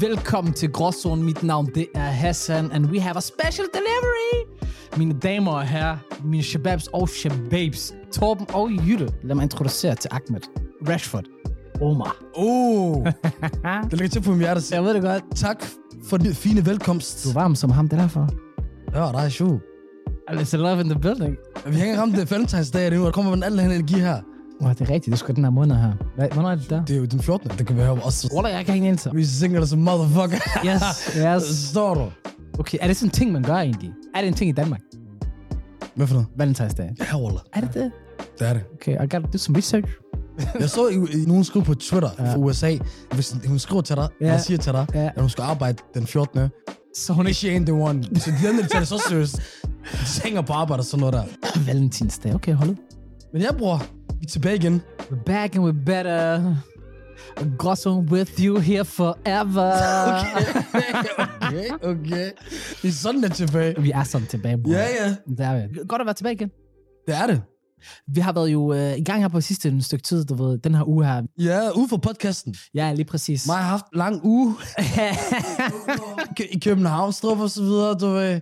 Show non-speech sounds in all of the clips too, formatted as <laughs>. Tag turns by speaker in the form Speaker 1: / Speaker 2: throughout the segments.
Speaker 1: Velkommen til Gråzone. Mit navn det er Hassan, and we have a special delivery. Mine damer og herrer, mine shababs og shababs, Torben og Jytte. Lad mig introducere til Ahmed, Rashford, Omar.
Speaker 2: Oh,
Speaker 1: <laughs>
Speaker 2: det ligger til på min hjerte.
Speaker 1: Jeg ved det godt.
Speaker 2: Tak for den fine velkomst.
Speaker 1: Du er varm som ham, det er derfor.
Speaker 2: Ja, der er sjov.
Speaker 1: There's a love in the building.
Speaker 2: Vi hænger ramt det valentinsdag nu, og der kommer med alle den her energi her.
Speaker 1: Wow, det er rigtigt. Det er sgu den her måned her. Hvad- Hvornår er det der?
Speaker 2: Det er jo den 14. Det kan vi høre også.
Speaker 1: Wallah, jeg kan ikke enelse.
Speaker 2: Vi synger det som
Speaker 1: <laughs>
Speaker 2: motherfucker.
Speaker 1: Yes, yes.
Speaker 2: Står du?
Speaker 1: Okay, er det sådan en ting, man gør egentlig? Er det en ting i Danmark?
Speaker 2: Hvad for noget?
Speaker 1: Valentinsdag.
Speaker 2: Ja, Wallah.
Speaker 1: Er det det?
Speaker 2: Det er det.
Speaker 1: Okay, I gotta do some research.
Speaker 2: Jeg så i, i nogen skrive på Twitter ja. fra USA, hvis hun skriver til dig,
Speaker 1: Ja.
Speaker 2: ja. eller siger til dig,
Speaker 1: Ja.
Speaker 2: ja. at hun skal arbejde den 14.
Speaker 1: Så hun
Speaker 2: Men she ain't the one. Så de andre de tager det så seriøst. De hænger på arbejde og sådan noget der.
Speaker 1: Valentinsdag. Okay, hold ud.
Speaker 2: Men ja, bror. Vi er tilbage igen.
Speaker 1: We're back and we're better. Gråzone with you here <laughs> forever.
Speaker 2: <laughs> okay, okay. Det er sådan, der er tilbage.
Speaker 1: Vi er sådan tilbage, bror.
Speaker 2: Ja, ja.
Speaker 1: Det er vi. Godt at være tilbage igen.
Speaker 2: Det er det.
Speaker 1: Vi har været jo øh, i gang her på sidste en stykke tid, du ved, den her uge her.
Speaker 2: Ja, ude for podcasten.
Speaker 1: Ja, lige præcis.
Speaker 2: Mig har haft lang <laughs> uge Kø- i København, Strup og så videre, du ved.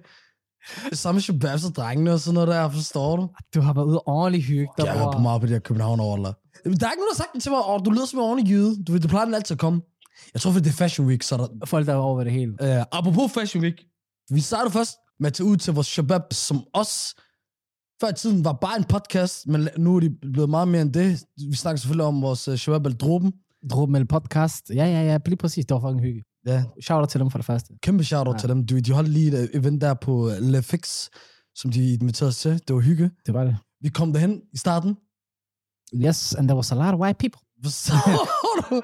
Speaker 2: Samme shababs og drengene og sådan noget der, forstår du?
Speaker 1: <laughs> du har været ude og ordentligt hygge dig,
Speaker 2: Jeg hører på meget på det her København overlag. Jamen, Der er ikke nogen, der har sagt det til mig, og du lyder som en ordentlig jyde. Du ved, det plejer den altid at komme. Jeg tror, for det er Fashion Week, så er der...
Speaker 1: Folk, der er over det hele.
Speaker 2: Øh, apropos Fashion Week, vi starter først med at tage ud til vores shababs, som os før i tiden var bare en podcast, men nu er de blevet meget mere end det. Vi snakker selvfølgelig om vores øh, shabab al
Speaker 1: Drobmel podcast. Ja, ja, ja, lige præcis. Det var fucking hygge.
Speaker 2: Ja,
Speaker 1: Shout out til dem for det første.
Speaker 2: Kæmpe shout-out
Speaker 1: Ja.
Speaker 2: ja. til dem. Du, de holdt lige et øh, event der på øh, Le Fix, som de inviterede os til. Det var hygge.
Speaker 1: Det var det.
Speaker 2: Vi kom derhen i starten.
Speaker 1: Yes, and there was a lot of white people.
Speaker 2: <laughs> Forstår du?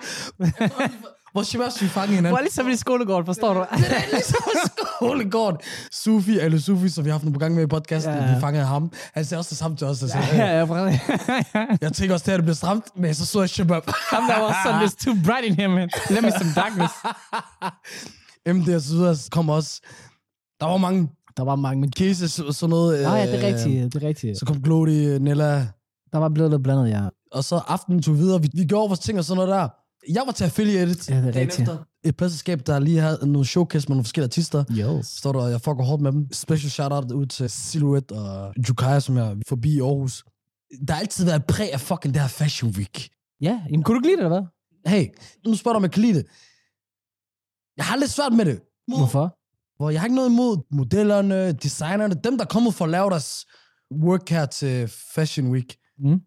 Speaker 2: Hvor svært vi fangede
Speaker 1: Det var
Speaker 2: hinanden.
Speaker 1: ligesom i skolegården, forstår du?
Speaker 2: Det er ligesom skolegården. Sufi, eller Sufi, som vi har haft nogle program med i podcasten,
Speaker 1: Ja.
Speaker 2: ja. vi fangede ham. Han sagde også det samme til os. Altså,
Speaker 1: ja, <laughs>
Speaker 2: ja.
Speaker 1: ja, præcis.
Speaker 2: Jeg tænker også, det her det blev stramt, men så så jeg Shabab. <laughs>
Speaker 1: Ham der var sådan, there's too bright in here, man. Let me some darkness.
Speaker 2: MD og så videre kom også. Der var mange
Speaker 1: Der var mange, men...
Speaker 2: cases og sådan noget.
Speaker 1: Nå ja,
Speaker 2: øh,
Speaker 1: det er rigtigt, det er rigtigt.
Speaker 2: Så kom Glody, Nella,
Speaker 1: Der var blevet lidt blandet, ja.
Speaker 2: og så aftenen tog vi videre. Vi, vi gjorde vores ting og sådan noget der. Jeg var til affiliated.
Speaker 1: Ja, det er
Speaker 2: dagen
Speaker 1: rigtigt.
Speaker 2: efter. Et pladselskab, der lige havde nogle showcase med nogle forskellige artister.
Speaker 1: Yes.
Speaker 2: Står der, jeg fucker hårdt med dem. Special shout-out ud til Silhouette og Jukaya, som jeg er forbi i Aarhus. Der har altid været et præg af fucking det her Fashion Week.
Speaker 1: Ja, jamen, kunne du ikke lide det, eller hvad?
Speaker 2: Hey, nu spørger du, om jeg kan lide det. Jeg har lidt svært med det.
Speaker 1: Hvorfor?
Speaker 2: Hvor jeg har ikke noget imod modellerne, designerne, dem der er kommet for at lave deres work her til Fashion Week.
Speaker 1: Mm.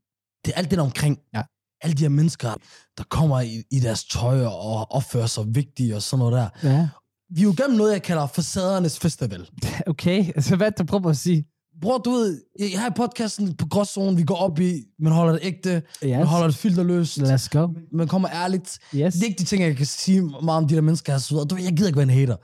Speaker 2: Det er alt det der omkring.
Speaker 1: Ja.
Speaker 2: Alle de her mennesker, der kommer i, i deres tøj og opfører sig vigtige og sådan noget der.
Speaker 1: Ja.
Speaker 2: Vi er jo gennem noget, jeg kalder facadernes festival.
Speaker 1: Okay, <laughs> så hvad er det, du prøver at sige?
Speaker 2: Bror, du ved, jeg har i podcasten på gråzonen, vi går op i, man holder det ægte,
Speaker 1: Yes.
Speaker 2: man holder det filterløst,
Speaker 1: Let's go.
Speaker 2: man kommer ærligt.
Speaker 1: Yes.
Speaker 2: Det er ikke de ting, jeg kan sige meget om de der mennesker her, så videre. Du ved, jeg gider ikke være en hater.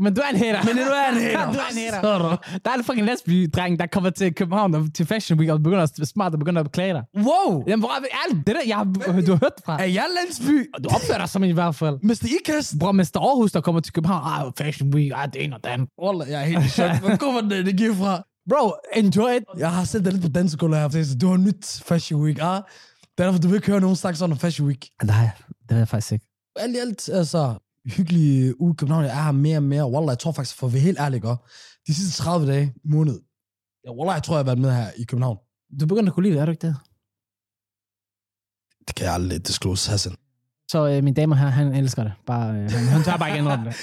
Speaker 1: Men du er en hater.
Speaker 2: Men du er en
Speaker 1: <laughs>
Speaker 2: hater.
Speaker 1: du er en hater.
Speaker 2: Så du.
Speaker 1: Der er en fucking lesbi-dreng, der kommer til København og til Fashion Week, og begynder at smart og begynder at beklage dig.
Speaker 2: Wow!
Speaker 1: Jamen, hvor er vi- ærligt, det der, jeg har, du har hørt det fra.
Speaker 2: Er jeg landsby?
Speaker 1: Og du opfører dig som en i hvert fald.
Speaker 2: Mr. Ikast?
Speaker 1: Bror, Mester Aarhus, der kommer til København. Ah, Fashion Week, ah, det er en og den.
Speaker 2: Wallah, jeg er helt i chok. Hvor kommer den energi fra?
Speaker 1: Bro, enjoy it.
Speaker 2: Jeg har sendt dig lidt på dansegulvet her, så du har nyt Fashion Week, ah? Det er derfor, du vil ikke høre nogen snakke sådan om Fashion Week.
Speaker 1: Nej, det ved jeg faktisk ikke.
Speaker 2: alt i alt, altså, hyggelig uge i København. Jeg er her mere og mere. Wallah, jeg tror faktisk, for at være helt ærlig, ikke? de sidste 30 dage, måned, ja, Wallah, jeg tror, jeg har været med her i København.
Speaker 1: Du begynder at kunne lide det, er du ikke det?
Speaker 2: Det kan jeg aldrig disclose, Hassan.
Speaker 1: Så øh, mine damer her, han elsker det. Bare, øh, han, han tør bare ikke indrømme det.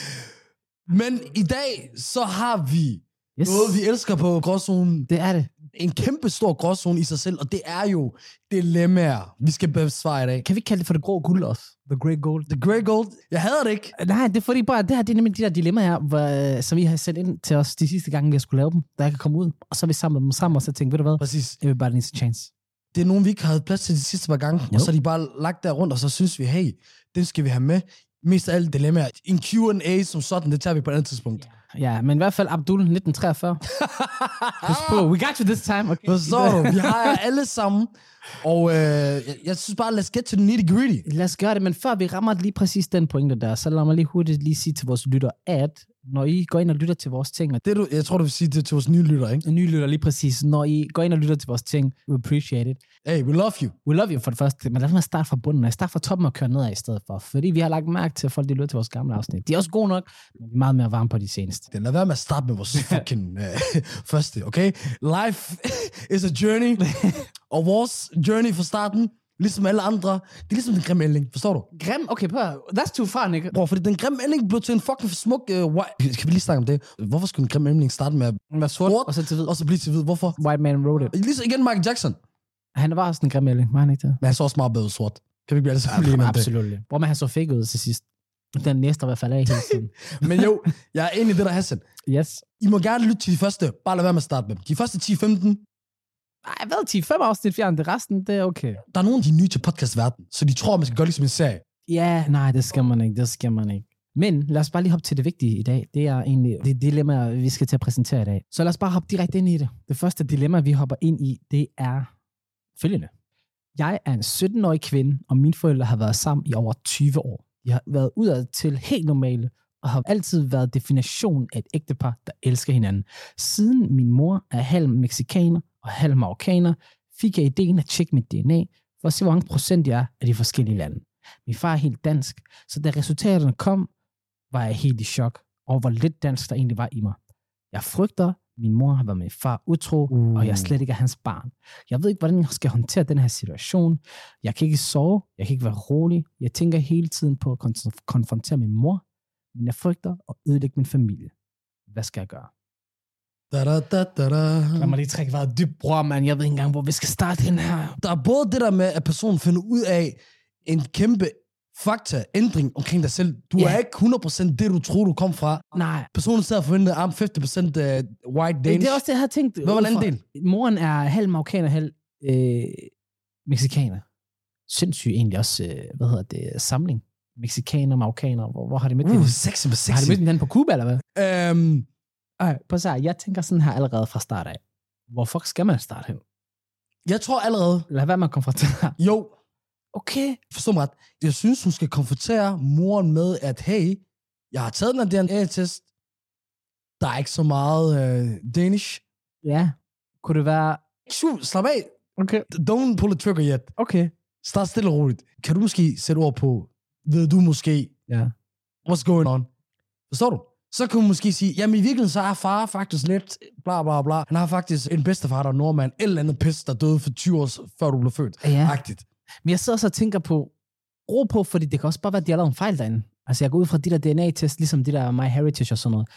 Speaker 2: Men i dag, så har vi
Speaker 1: Yes.
Speaker 2: noget, vi elsker på gråzonen.
Speaker 1: Det er det.
Speaker 2: En kæmpe stor gråzone i sig selv, og det er jo dilemmaer, vi skal besvare i dag.
Speaker 1: Kan vi ikke kalde det for det grå guld også? The grey gold.
Speaker 2: The Grey Gold, jeg hader det ikke.
Speaker 1: Nej, det er fordi bare, det her det er nemlig de der dilemmaer her, hvor, øh, som I har sendt ind til os de sidste gange, jeg skulle lave dem, da jeg kan komme ud. Og så har vi samlet dem sammen, og så tænkte, ved du hvad?
Speaker 2: Præcis.
Speaker 1: Everybody needs a chance.
Speaker 2: det er nogen, vi ikke havde plads til de sidste par gange,
Speaker 1: Jo.
Speaker 2: og så er de bare lagt der rundt, og så synes vi, hey, den skal vi have med. Mest af alle dilemmaer. En Q&A som sådan, det tager vi på et andet tidspunkt. Yeah.
Speaker 1: Ja, men i hvert fald Abdul 1943. Pas på, we got you this time. Okay. <laughs>
Speaker 2: Forstår du? Vi har jer alle sammen, og øh, jeg, jeg synes bare, let's get to the nitty gritty.
Speaker 1: Lad os gøre det, men før vi rammer lige præcis den pointe der, så lad mig lige hurtigt lige sige til vores lytter, at når I går ind og lytter til vores ting, og
Speaker 2: Det, du, jeg tror, du vil sige det til vores nye lytter, ikke?
Speaker 1: nye lytter lige præcis, når I går ind og lytter til vores ting, we appreciate it.
Speaker 2: Hey, we love you.
Speaker 1: We love you for det første, men lad os nu starte fra bunden af. Start fra toppen og køre nedad i stedet for, fordi vi har lagt mærke til, at folk de lytter til vores gamle afsnit. De er også gode nok, men vi er meget mere varme på de seneste.
Speaker 2: Det, lad være med at starte med
Speaker 1: <laughs>
Speaker 2: vores fucking øh, <laughs> første, okay? Life <laughs> is a
Speaker 1: <laughs>
Speaker 2: journey. og vores journey fra starten, ligesom alle andre, det er ligesom den grimme ælling, forstår du?
Speaker 1: Grim? Okay, prøv at- That's too far, Nick.
Speaker 2: Bror, fordi den grimme ælling blev til en fucking smuk... Øh, white. Kan vi lige snakke om det? Hvorfor skulle en grim ælling starte med at
Speaker 1: Den var sort,
Speaker 2: Sort?
Speaker 1: og så til hvid.
Speaker 2: og så blive til hvid? Hvorfor?
Speaker 1: White man wrote it.
Speaker 2: Ligesom igen Michael Jackson.
Speaker 1: Han var også en grim ælling, var han ikke det?
Speaker 2: Men han så også meget bedre ud sort. Kan vi ikke blive alle sammen enige om det?
Speaker 1: Absolut. Hvor man han så fik ud til sidst. Den næste var faldet af hele tiden.
Speaker 2: Men jo, jeg er enig i det der, Hassan.
Speaker 1: Yes.
Speaker 2: I må gerne lytte til de første. Bare lad være med at starte med dem. De første 10-15,
Speaker 1: Ej, hvad? 10-5 afsnit fjern, det resten, det er okay.
Speaker 2: der er nogen, de er nye til podcastverden, så de tror, man skal gøre ligesom en serie.
Speaker 1: Ja, nej, det skal man ikke, det skal man ikke. Men lad os bare lige hoppe til det vigtige i dag. Det er egentlig det dilemma, vi skal til at præsentere i dag. Så lad os bare hoppe direkte ind i det. Det første dilemma, vi hopper ind i, det er følgende. Jeg er en 17-årig kvinde, og mine forældre har været sammen i over 20 år. De har været udad til helt normale, og har altid været definitionen af et ægtepar, der elsker hinanden. Siden min mor er halv meksikaner og halv marokkaner, fik jeg ideen at tjekke mit DNA, for at se, hvor mange procent jeg er af de forskellige lande. Min far er helt dansk, så da resultaterne kom, var jeg helt i chok over, hvor lidt dansk der egentlig var i mig. Jeg frygter, min mor har været min far utro,
Speaker 2: Uh.
Speaker 1: uh. og jeg slet ikke er hans barn. Jeg ved ikke, hvordan jeg skal håndtere den her situation. Jeg kan ikke sove, jeg kan ikke være rolig. Jeg tænker hele tiden på at kon- konfrontere min mor, men jeg frygter at ødelægge min familie. Hvad skal jeg gøre?
Speaker 2: Da, da, da, da, da.
Speaker 1: Lad mig lige trække vejret dybt, bror, mand. Jeg ved ikke engang, hvor vi skal starte den her.
Speaker 2: Der er både det der med, at personen finder ud af en kæmpe fakta, ændring omkring dig selv. Du
Speaker 1: Ja.
Speaker 2: er ikke 100% det, du tror, du kom fra.
Speaker 1: Nej,
Speaker 2: Personen sidder og forventer, at I'm 50% øh, white
Speaker 1: det,
Speaker 2: Danish.
Speaker 1: det er også det, jeg havde tænkt.
Speaker 2: Hvad var den anden
Speaker 1: Ud fra-
Speaker 2: del?
Speaker 1: moren er halv marokkaner, halv øh, mexikaner. Sindssyg egentlig også, øh, hvad hedder det, samling. Mexikaner, marokkaner, hvor, hvor har de mødt uh,
Speaker 2: Uh,
Speaker 1: hinanden?
Speaker 2: sexy med
Speaker 1: Har
Speaker 2: sexy.
Speaker 1: de mødt hinanden på Cuba, eller hvad?
Speaker 2: Øhm,
Speaker 1: Ej, prøv at se, her. jeg tænker sådan her allerede fra start af. Hvor fuck skal man starte hen?
Speaker 2: jeg tror allerede,
Speaker 1: Lad være med at konfrontere.
Speaker 2: jo,
Speaker 1: Okay.
Speaker 2: forstå mig ret. Jeg synes, hun skal konfrontere moren med, at hey, jeg har taget den her DNA-test. Der er ikke så meget øh, Danish.
Speaker 1: Ja. Kunne det være...
Speaker 2: Shoo, slap af.
Speaker 1: Okay.
Speaker 2: Don't pull the trigger yet.
Speaker 1: Okay.
Speaker 2: Start stille og roligt. Kan du måske sætte ord på, ved du måske,
Speaker 1: Ja.
Speaker 2: what's going on? Forstår du? Så kan hun måske sige, jamen i virkeligheden så er far faktisk lidt bla bla bla. Han har faktisk en bedstefar, der er nordmand. Et eller andet pis, der døde for 20 år før du blev født.
Speaker 1: Ja.
Speaker 2: Agtigt.
Speaker 1: Men jeg sidder så og tænker på, ro på, fordi det kan også bare være, at de har lavet en fejl derinde. Altså, jeg går ud fra de der DNA-test, ligesom de der MyHeritage og sådan noget.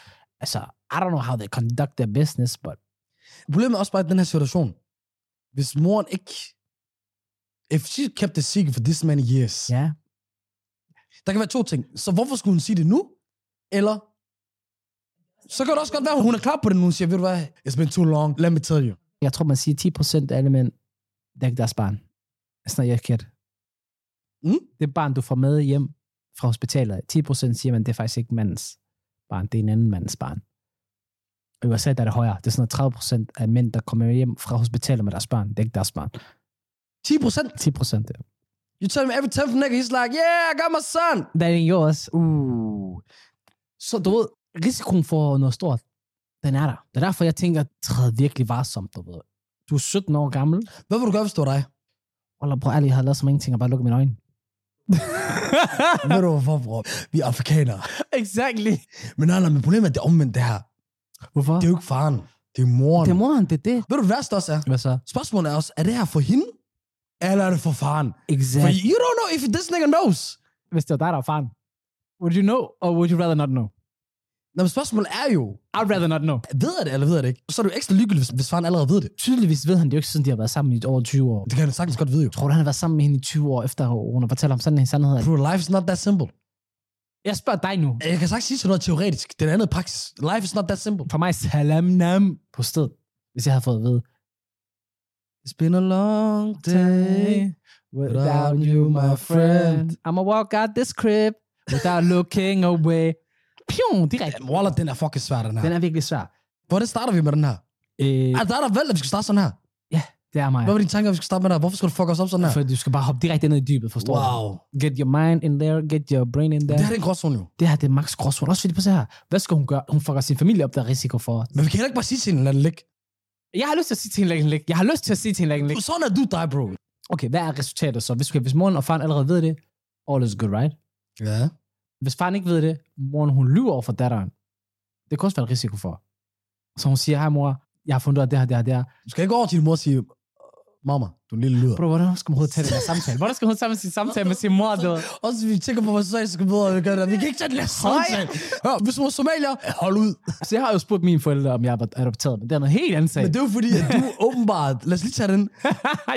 Speaker 1: Altså, I don't know how they conduct their business, but
Speaker 2: Problemet er også bare i den her situation. Hvis moren ikke... If she kept the secret for this many years.
Speaker 1: ja.
Speaker 2: Der kan være to ting. Så hvorfor skulle hun sige det nu? Eller... Så kan det også godt være, at hun er klar på det nu. Hun siger, ved du hvad? It's been too long. Let me tell you.
Speaker 1: Jeg tror, man siger, 10% af alle mænd, det er ikke deres barn. Sådan jeg kan.
Speaker 2: Mm?
Speaker 1: Det barn, du får med hjem fra hospitalet, 10% siger man, det er faktisk ikke mandens barn, det er en anden mandens barn. Og I USA der er det højere. Det er sådan noget 30% af mænd, der kommer hjem fra hospitalet med deres barn. Det er ikke deres barn.
Speaker 2: 10 procent.
Speaker 1: 10% der.
Speaker 2: You tell him every 10th nigga, he's like, yeah, I got my son.
Speaker 1: Det er yours.
Speaker 2: Uh.
Speaker 1: Så du ved, risikoen for noget stort, den er der. Det er derfor, jeg tænker, træd virkelig varsomt, du ved. Du er 17 år gammel.
Speaker 2: Hvad vil du gøre, hvis det var
Speaker 1: <laughs>
Speaker 2: dig?
Speaker 1: Wallah, bror, ærligt, jeg havde lavet så mange ting, og bare lukket mine øjne.
Speaker 2: Ved du hvorfor, bror? Vi er afrikanere.
Speaker 1: exactly.
Speaker 2: Men nej, nej, men problemet er, det er omvendt det her.
Speaker 1: Hvorfor?
Speaker 2: Det er jo ikke faren. Det er moren.
Speaker 1: Det er moren, det er det.
Speaker 2: Ved du, hvad det også er?
Speaker 1: Hvad så?
Speaker 2: Spørgsmålet er også, er det her for hende? Eller er det for faren? For
Speaker 1: Exactly.
Speaker 2: you don't know if this nigga knows.
Speaker 1: Hvis det var dig, der var faren. Would you know, or would you rather not know?
Speaker 2: Nå, men spørgsmålet er jo,
Speaker 1: I'd rather not know.
Speaker 2: ved jeg det, eller ved jeg det ikke? Så er det jo ekstra lykkeligt, hvis, hvis faren allerede ved det.
Speaker 1: Tydeligvis ved han det jo ikke, siden de har været sammen i over 20 år.
Speaker 2: Det kan han sagtens godt vide, jo.
Speaker 1: Jeg tror, du, han har været sammen med hende i 20 år, efter hun har fortalt ham sådan en sandhed.
Speaker 2: Bro, life is not that simple.
Speaker 1: Jeg spørger dig nu.
Speaker 2: Jeg kan sagtens sige sådan noget teoretisk. Den anden er praksis. Life is not that simple.
Speaker 1: For mig, salam nam på stedet, hvis jeg havde fået at vide.
Speaker 2: It's been a long day.
Speaker 1: Without you, my friend. I'ma walk out this crib without looking away. Pium, direkte.
Speaker 2: Jamen, Wallah, den er fucking svær, den her.
Speaker 1: Den er virkelig svær.
Speaker 2: Hvordan starter vi med den her?
Speaker 1: Øh,
Speaker 2: Ah, der er der valgt, at vi skal starte sådan her.
Speaker 1: Ja. Det er mig.
Speaker 2: Hvad var dine tanker, vi skal starte med dig? Hvorfor skal du fuck os op sådan her?
Speaker 1: For du skal bare hoppe direkte ned i dybet, forstår du?
Speaker 2: Wow.
Speaker 1: Get your mind in there, get your brain in there.
Speaker 2: Det her er en gråzone jo.
Speaker 1: det her det er max gråzone. Også fordi, på her. Hvad skal hun gøre? Hun fucker sin familie op, der er risiko for.
Speaker 2: Men vi kan heller ikke bare sige til hende, lad det ligge.
Speaker 1: Jeg har lyst til at sige til hende, læg en læg. Jeg har lyst til at sige til hende, læg en læg.
Speaker 2: Sådan er du dig, bro.
Speaker 1: Okay, hvad er resultatet så? Hvis, okay, hvis moren og faren allerede ved det, all is good, right?
Speaker 2: Ja.
Speaker 1: Hvis faren ikke ved det, moren hun lyver over for datteren. Det kan også være et risiko for. Så hun siger, hej mor, jeg har fundet ud af det her, det her, det her.
Speaker 2: Du skal ikke over til din mor og sige, mamma, du er en lille lyder.
Speaker 1: Bro, hvordan skal man overhovedet tage den her samtale? Hvordan skal hun sammen sin samtale med sin mor? Du? ved?
Speaker 2: Også vi tænker på, hvor socialt skal videre, og vi gør det. Vi kan ikke tage den her samtale. Hør, hvis du er somalier, hold ud.
Speaker 1: Så jeg har jo spurgt mine forældre, om jeg er adopteret, men det er noget helt andet sag. Ah,
Speaker 2: Men det er jo fordi,
Speaker 1: <laughs>
Speaker 2: at du åbenbart, lad os lige tage den,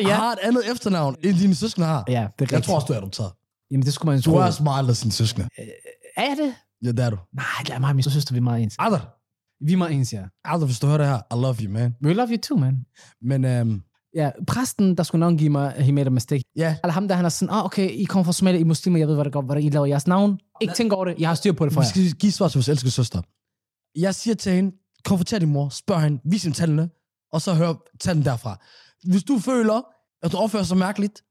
Speaker 1: ja.
Speaker 2: har et andet efternavn, end dine søskende har.
Speaker 1: ja, det er
Speaker 2: Ah. Jeg
Speaker 1: rigtigt.
Speaker 2: tror også, du er adopteret.
Speaker 1: Jamen, det skulle man jo
Speaker 2: Du
Speaker 1: tro.
Speaker 2: er også meget anderledes end dine søskende.
Speaker 1: Er jeg det?
Speaker 2: Ja, det er du.
Speaker 1: Nej, lad mig og min søster, vi er meget ens.
Speaker 2: Adder,
Speaker 1: Vi er meget ens, ja.
Speaker 2: Adder, hvis du hører det her, I love you, man.
Speaker 1: We love you too, man.
Speaker 2: Men øhm,
Speaker 1: Ja, præsten, der skulle nok give mig, he made a mistake.
Speaker 2: ja,
Speaker 1: Eller ham der, han er sådan, ah, okay, I kommer fra Somalia, I er muslimer, jeg ved, hvad der går, hvordan I laver jeres navn. Ikke tænk over det, jeg har styr på det for
Speaker 2: vi
Speaker 1: jer.
Speaker 2: skal give svar til vores elskede søster. Jeg siger til hende, konfronter din mor, spørg hende, vis hende tallene, og så hør, tag den derfra. Hvis du føler, at du opfører sig mærkeligt,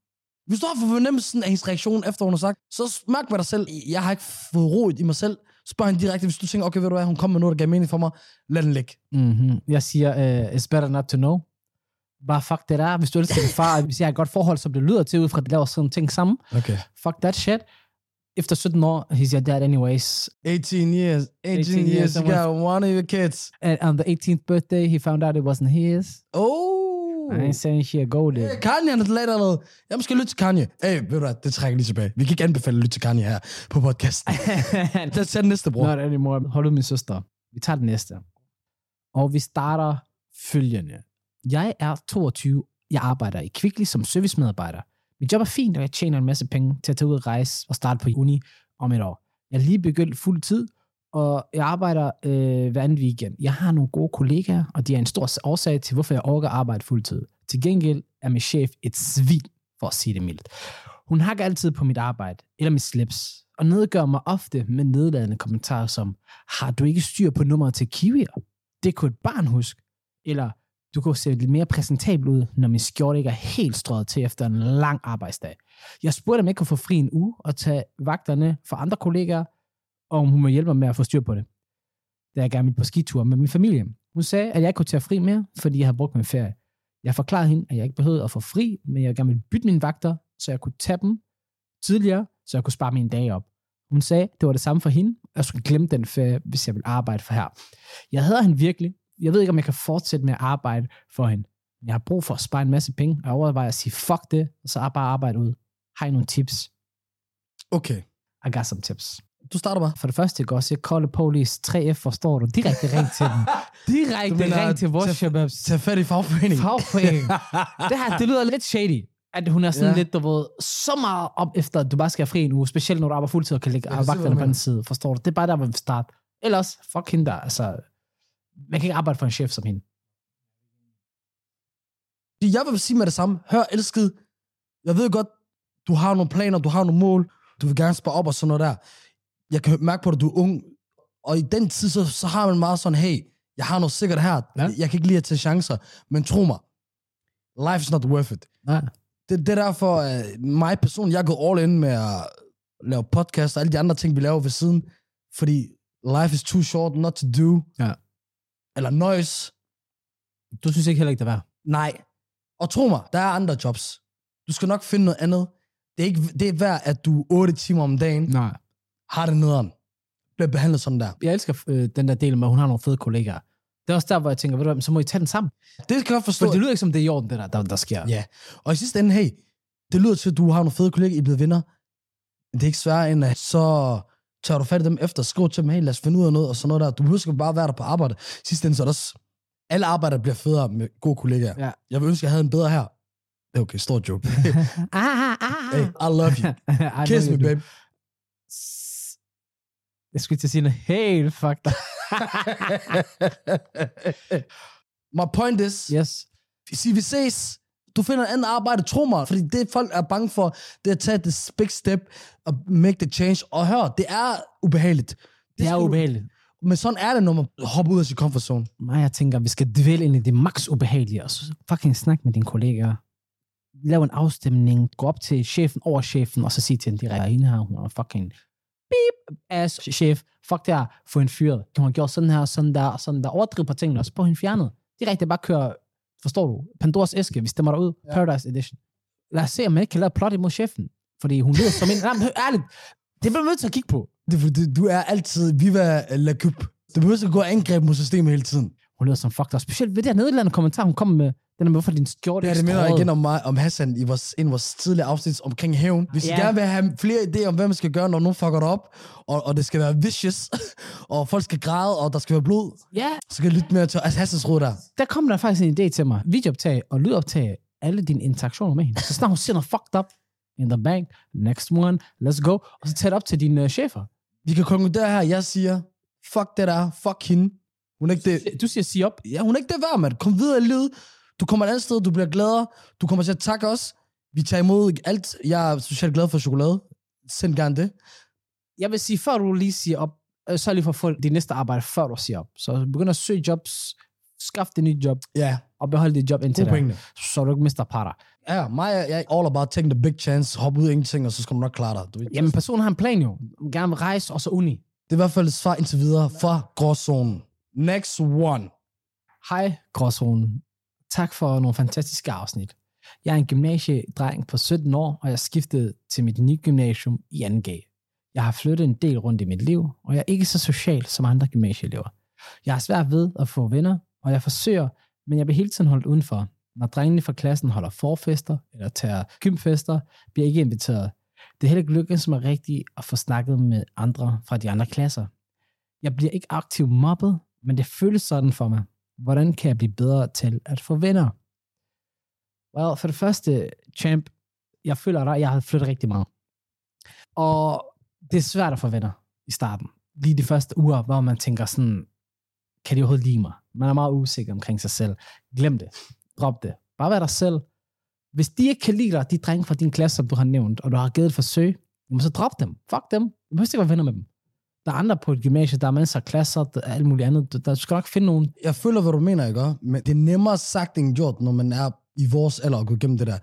Speaker 2: hvis du har fået fornemmelsen af hendes reaktion, efter hun har sagt, så mærk med dig selv, jeg har ikke fået roet i mig selv, spørg hende direkte, hvis du tænker, okay, ved du hvad, hun kom med noget, der gav mening for mig, lad den ligge.
Speaker 1: Mm-hmm. Jeg siger, uh, it's better not to know. Bare fuck det der, hvis du elsker din far, hvis jeg har et godt forhold, som det lyder til, ud fra at de laver sådan ting sammen.
Speaker 2: Okay.
Speaker 1: Fuck that shit. Efter 17 år, he's your dad anyways.
Speaker 2: 18 years, 18,
Speaker 1: 18
Speaker 2: years,
Speaker 1: years,
Speaker 2: you got one of your kids.
Speaker 1: And on the 18th birthday, he found out it wasn't his.
Speaker 2: Oh.
Speaker 1: I ain't saying she a gold <laughs>
Speaker 2: Øh, Kanye han er lidt allerede. Jeg måske lytte til Kanye. Hey, ved du hvad, det trækker jeg lige tilbage. Vi kan ikke anbefale at lytte til Kanye her på podcasten.
Speaker 1: digger.
Speaker 2: Lad os tage den næste, bror.
Speaker 1: Not anymore. Hold ud, min søster. Vi tager det næste. Og vi starter følgende. Jeg er 22. Jeg arbejder i Kvickly som servicemedarbejder. Mit job er fint, og jeg tjener en masse penge til at tage ud og rejse og starte på uni om et år. Jeg er lige begyndt fuld tid, og jeg arbejder øh, hver anden weekend. Jeg har nogle gode kollegaer, og de er en stor årsag til, hvorfor jeg orker at arbejde fuld tid. Til gengæld er min chef et svin, for at sige det mildt. Hun hakker altid på mit arbejde, eller mit slips, og nedgør mig ofte med nedladende kommentarer som, har du ikke styr på nummeret til kiwier? Det kunne et barn huske. Eller, du kunne se lidt mere præsentabel ud, når min skjorte ikke er helt strøget til efter en lang arbejdsdag. Jeg spurgte, om jeg kunne få fri en uge og tage vagterne fra andre kollegaer, og om hun må hjælpe mig med at få styr på det, da jeg gerne ville på skitur med min familie. Hun sagde, at jeg ikke kunne tage fri mere, fordi jeg havde brugt min ferie. Jeg forklarede hende, at jeg ikke behøvede at få fri, men jeg gerne ville bytte mine vagter, så jeg kunne tage dem tidligere, så jeg kunne spare mine dage op. Hun sagde, at det var det samme for hende, og jeg skulle glemme den ferie, hvis jeg ville arbejde for her. Jeg hader hende virkelig. Jeg ved ikke, om jeg kan fortsætte med at arbejde for hende. Jeg har brug for at spare en masse penge, og jeg overvejer at sige, fuck det, og så bare arbejde ud. Har I nogle tips?
Speaker 2: Okay,
Speaker 1: I got some tips.
Speaker 2: du starter bare.
Speaker 1: For det første, jeg går også, jeg kolde police 3F, forstår du? Direkte ring til dem.
Speaker 2: <laughs> Du
Speaker 1: Direkte
Speaker 2: mener,
Speaker 1: ring til vores
Speaker 2: tag-
Speaker 1: shababs.
Speaker 2: Tag fat i fagforeningen.
Speaker 1: <laughs> Fagforening. det her, det lyder lidt shady, at hun er sådan
Speaker 2: Ja.
Speaker 1: ja. lidt, du ved, så meget op efter, at du bare skal have fri en uge, specielt når du arbejder fuldtid og kan ligge
Speaker 2: Jeg kan
Speaker 1: og
Speaker 2: se, hvad
Speaker 1: vagterne
Speaker 2: du
Speaker 1: på den side, forstår du? Det er bare der, man vil starte. Ellers, fuck hende der, altså, man kan ikke arbejde for en chef som hende.
Speaker 2: Jeg vil sige med det samme. Hør, elskede. Jeg ved godt, du har nogle planer, du har nogle mål. Du vil gerne spare op og sådan noget der. Jeg kan mærke på dig, du er ung. Og i den tid, så, så har man meget sådan, hey, jeg har noget sikkert her.
Speaker 1: Ja.
Speaker 2: Jeg kan ikke lide at tage chancer. Men tro mig, life's not worth it.
Speaker 1: Nej.
Speaker 2: det, det er derfor, at mig personligt, jeg er gået all in med at lave podcast og alle de andre ting, vi laver ved siden. Fordi life is too short not to do.
Speaker 1: Ja.
Speaker 2: Eller noise.
Speaker 1: Du synes ikke heller ikke, det er værd.
Speaker 2: Nej. Og tro mig, der er andre jobs. Du skal nok finde noget andet. Det er, ikke, det er værd, at du 8 timer om dagen
Speaker 1: Nej.
Speaker 2: har det nederen. Bliver behandlet sådan der.
Speaker 1: Jeg elsker øh, den der del med, at hun har nogle fede kollegaer. Det er også der, hvor jeg tænker, ved du hvad, så må I tage den sammen.
Speaker 2: Det kan jeg godt
Speaker 1: For
Speaker 2: forstå.
Speaker 1: det lyder ikke som, det er i orden, det der, der, der sker.
Speaker 2: Ja. Og i sidste ende, hey, det lyder til, at du har nogle fede kollegaer, I er blevet venner. Men det er ikke sværere end, at så tager du fat i dem efter, skriver til dem, hey, lad os finde ud af noget, og sådan noget der. Du behøver sgu bare være der på arbejde. I Sidste ende, så er der også, alle arbejder bliver federe med gode kollegaer.
Speaker 1: Ja.
Speaker 2: Jeg vil ønske, jeg havde en bedre her. Det er okay, stor joke.
Speaker 1: <laughs> Ah, ah, ah.
Speaker 2: hey, I love
Speaker 1: <laughs>
Speaker 2: you.
Speaker 1: <laughs> Ej,
Speaker 2: Kiss
Speaker 1: nu
Speaker 2: me,
Speaker 1: er det-
Speaker 2: babe.
Speaker 1: Jeg skulle til at sige noget helt fucked up.
Speaker 2: My point is,
Speaker 1: Yes.
Speaker 2: sig, vi ses. Du finder en anden arbejde, tro mig. Fordi det, folk er bange for, det er at tage det big step og make the change. Og hør, det er ubehageligt.
Speaker 1: Det er
Speaker 2: skal du-
Speaker 1: ubehageligt.
Speaker 2: Men sådan er det, når man hopper ud af sin comfort zone.
Speaker 1: Mig, jeg tænker, vi skal dvæle ind i det maks ubehagelige, og så fucking snak med dine kollegaer. Lav en afstemning, gå op til chefen over chefen, og så sig til hende direkte, hende her, hun er fucking beep ass chef. Fuck det her, få hende fyret. Hun har gjort sådan her, sådan der, og sådan der. Overdriv på tingene, og så på hende fjernet. Direkte bare køre, forstår du, Pandoras æske, vi stemmer dig ud,
Speaker 2: Ja.
Speaker 1: Paradise Edition. Lad os se, om man ikke kan lave plot imod chefen. Fordi hun lyder som en... Nej, men hør, ærligt, det bliver vi nødt til at kigge på.
Speaker 2: Det, er fordi, du, du er altid viva la coupe. Du behøver at gå og angreb mod systemet hele tiden.
Speaker 1: Hun lyder som fuck dig. Specielt ved det her nederlandende kommentar, hun kom med. Den er med, hvorfor din skjorte
Speaker 2: Det her,
Speaker 1: er
Speaker 2: det minder
Speaker 1: strøget.
Speaker 2: igen om, mig, om Hassan i vores, en af vores tidligere afsnit omkring hævn. Hvis
Speaker 1: Ja.
Speaker 2: yeah. I gerne vil have flere idéer om, hvad man skal gøre, når nogen fucker dig op, og, og det skal være vicious, <laughs> og folk skal græde, og der skal være blod,
Speaker 1: Ja,
Speaker 2: så kan I lytte mere til altså, Hassans råd der.
Speaker 1: der kom der faktisk en idé til mig. Videooptage og lydoptage alle dine interaktioner med hende. Så snart hun siger noget fucked up in the bank, next one, let's go. Og så tag det op til dine uh, chefer.
Speaker 2: Vi kan konkludere her, jeg siger, fuck det der, fuck hende. Hun er ikke det,
Speaker 1: Øh, Du siger sig op.
Speaker 2: ja, hun er ikke det værd, mand. Kom videre i livet. Du kommer et andet sted, du bliver gladere. Du kommer til at takke os. Vi tager imod alt. Jeg er socialt glad for chokolade. Send gerne det.
Speaker 1: Jeg vil sige, før du lige siger op, øh, sørg lige for at få dit næste arbejde, før du siger op. Så begynd at søge jobs, skaff dit nye job,
Speaker 2: Ja,
Speaker 1: og behold dit job indtil
Speaker 2: gode
Speaker 1: da,
Speaker 2: pointe.
Speaker 1: så du ikke mister parter.
Speaker 2: Ja, mig, jeg jeg er all about taking the big chance. Hop ud i ingenting, og så skal du nok klare dig. Du, ved.
Speaker 1: Jamen, personen har en plan jo. Gerne vil rejse, og så uni.
Speaker 2: Det er i hvert fald et svar indtil videre fra gråzonen. Next one.
Speaker 1: Hej, Gråzonen. Tak for nogle fantastiske afsnit. Jeg er en gymnasiedreng på 17 år, og jeg skiftede til mit nye gymnasium i 2G. Jeg har flyttet en del rundt i mit liv, og jeg er ikke så social som andre gymnasieelever. Jeg har svært ved at få venner, og jeg forsøger, men jeg bliver hele tiden holdt udenfor. Når drengene fra klassen holder forfester eller tager gymfester, bliver jeg ikke inviteret. Det er heller ikke lykkedes mig rigtigt at få snakket med andre fra de andre klasser. Jeg bliver ikke aktivt mobbet, men det føles sådan for mig hvordan kan jeg blive bedre til at få venner? Well, for det første, champ, jeg føler dig, jeg har flyttet rigtig meget. Og det er svært at få venner i starten. Lige de første uger, hvor man tænker sådan, kan de overhovedet lide mig? Man er meget usikker omkring sig selv. Glem det. Drop det. Bare vær dig selv. Hvis de ikke kan lide dig, de drenge fra din klasse, som du har nævnt, og du har givet et forsøg, jamen så drop dem. Fuck dem. Du behøver ikke være venner med dem. Der er andre på et gymnasie, der er masser af klasser, der er alt muligt andet. Du, der, du skal nok finde nogen,
Speaker 2: Jeg føler, hvad du mener, ikke? også? Men det er nemmere sagt end gjort, når man er i vores alder og går igennem det der.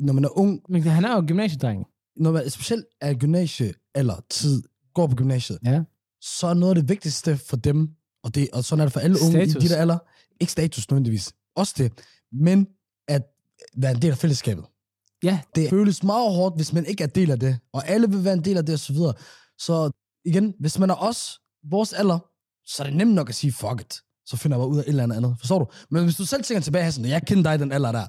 Speaker 2: Når man er ung,
Speaker 1: Men han er jo gymnasiedreng.
Speaker 2: når man specielt er i gymnasie eller tid, går på gymnasiet,
Speaker 1: Ja.
Speaker 2: så er noget af det vigtigste for dem, og, det, og sådan er det for alle unge
Speaker 1: Status.
Speaker 2: i de der alder, ikke status nødvendigvis, også det, men at være en del af fællesskabet.
Speaker 1: Ja,
Speaker 2: Det føles meget hårdt, hvis man ikke er del af det, og alle vil være en del af det osv. Så, videre. så igen, hvis man er os, vores alder, så er det nemt nok at sige, fuck it, så finder jeg bare ud af et eller andet andet. Forstår du? Men hvis du selv tænker tilbage, Hassan, jeg kender dig i den alder der,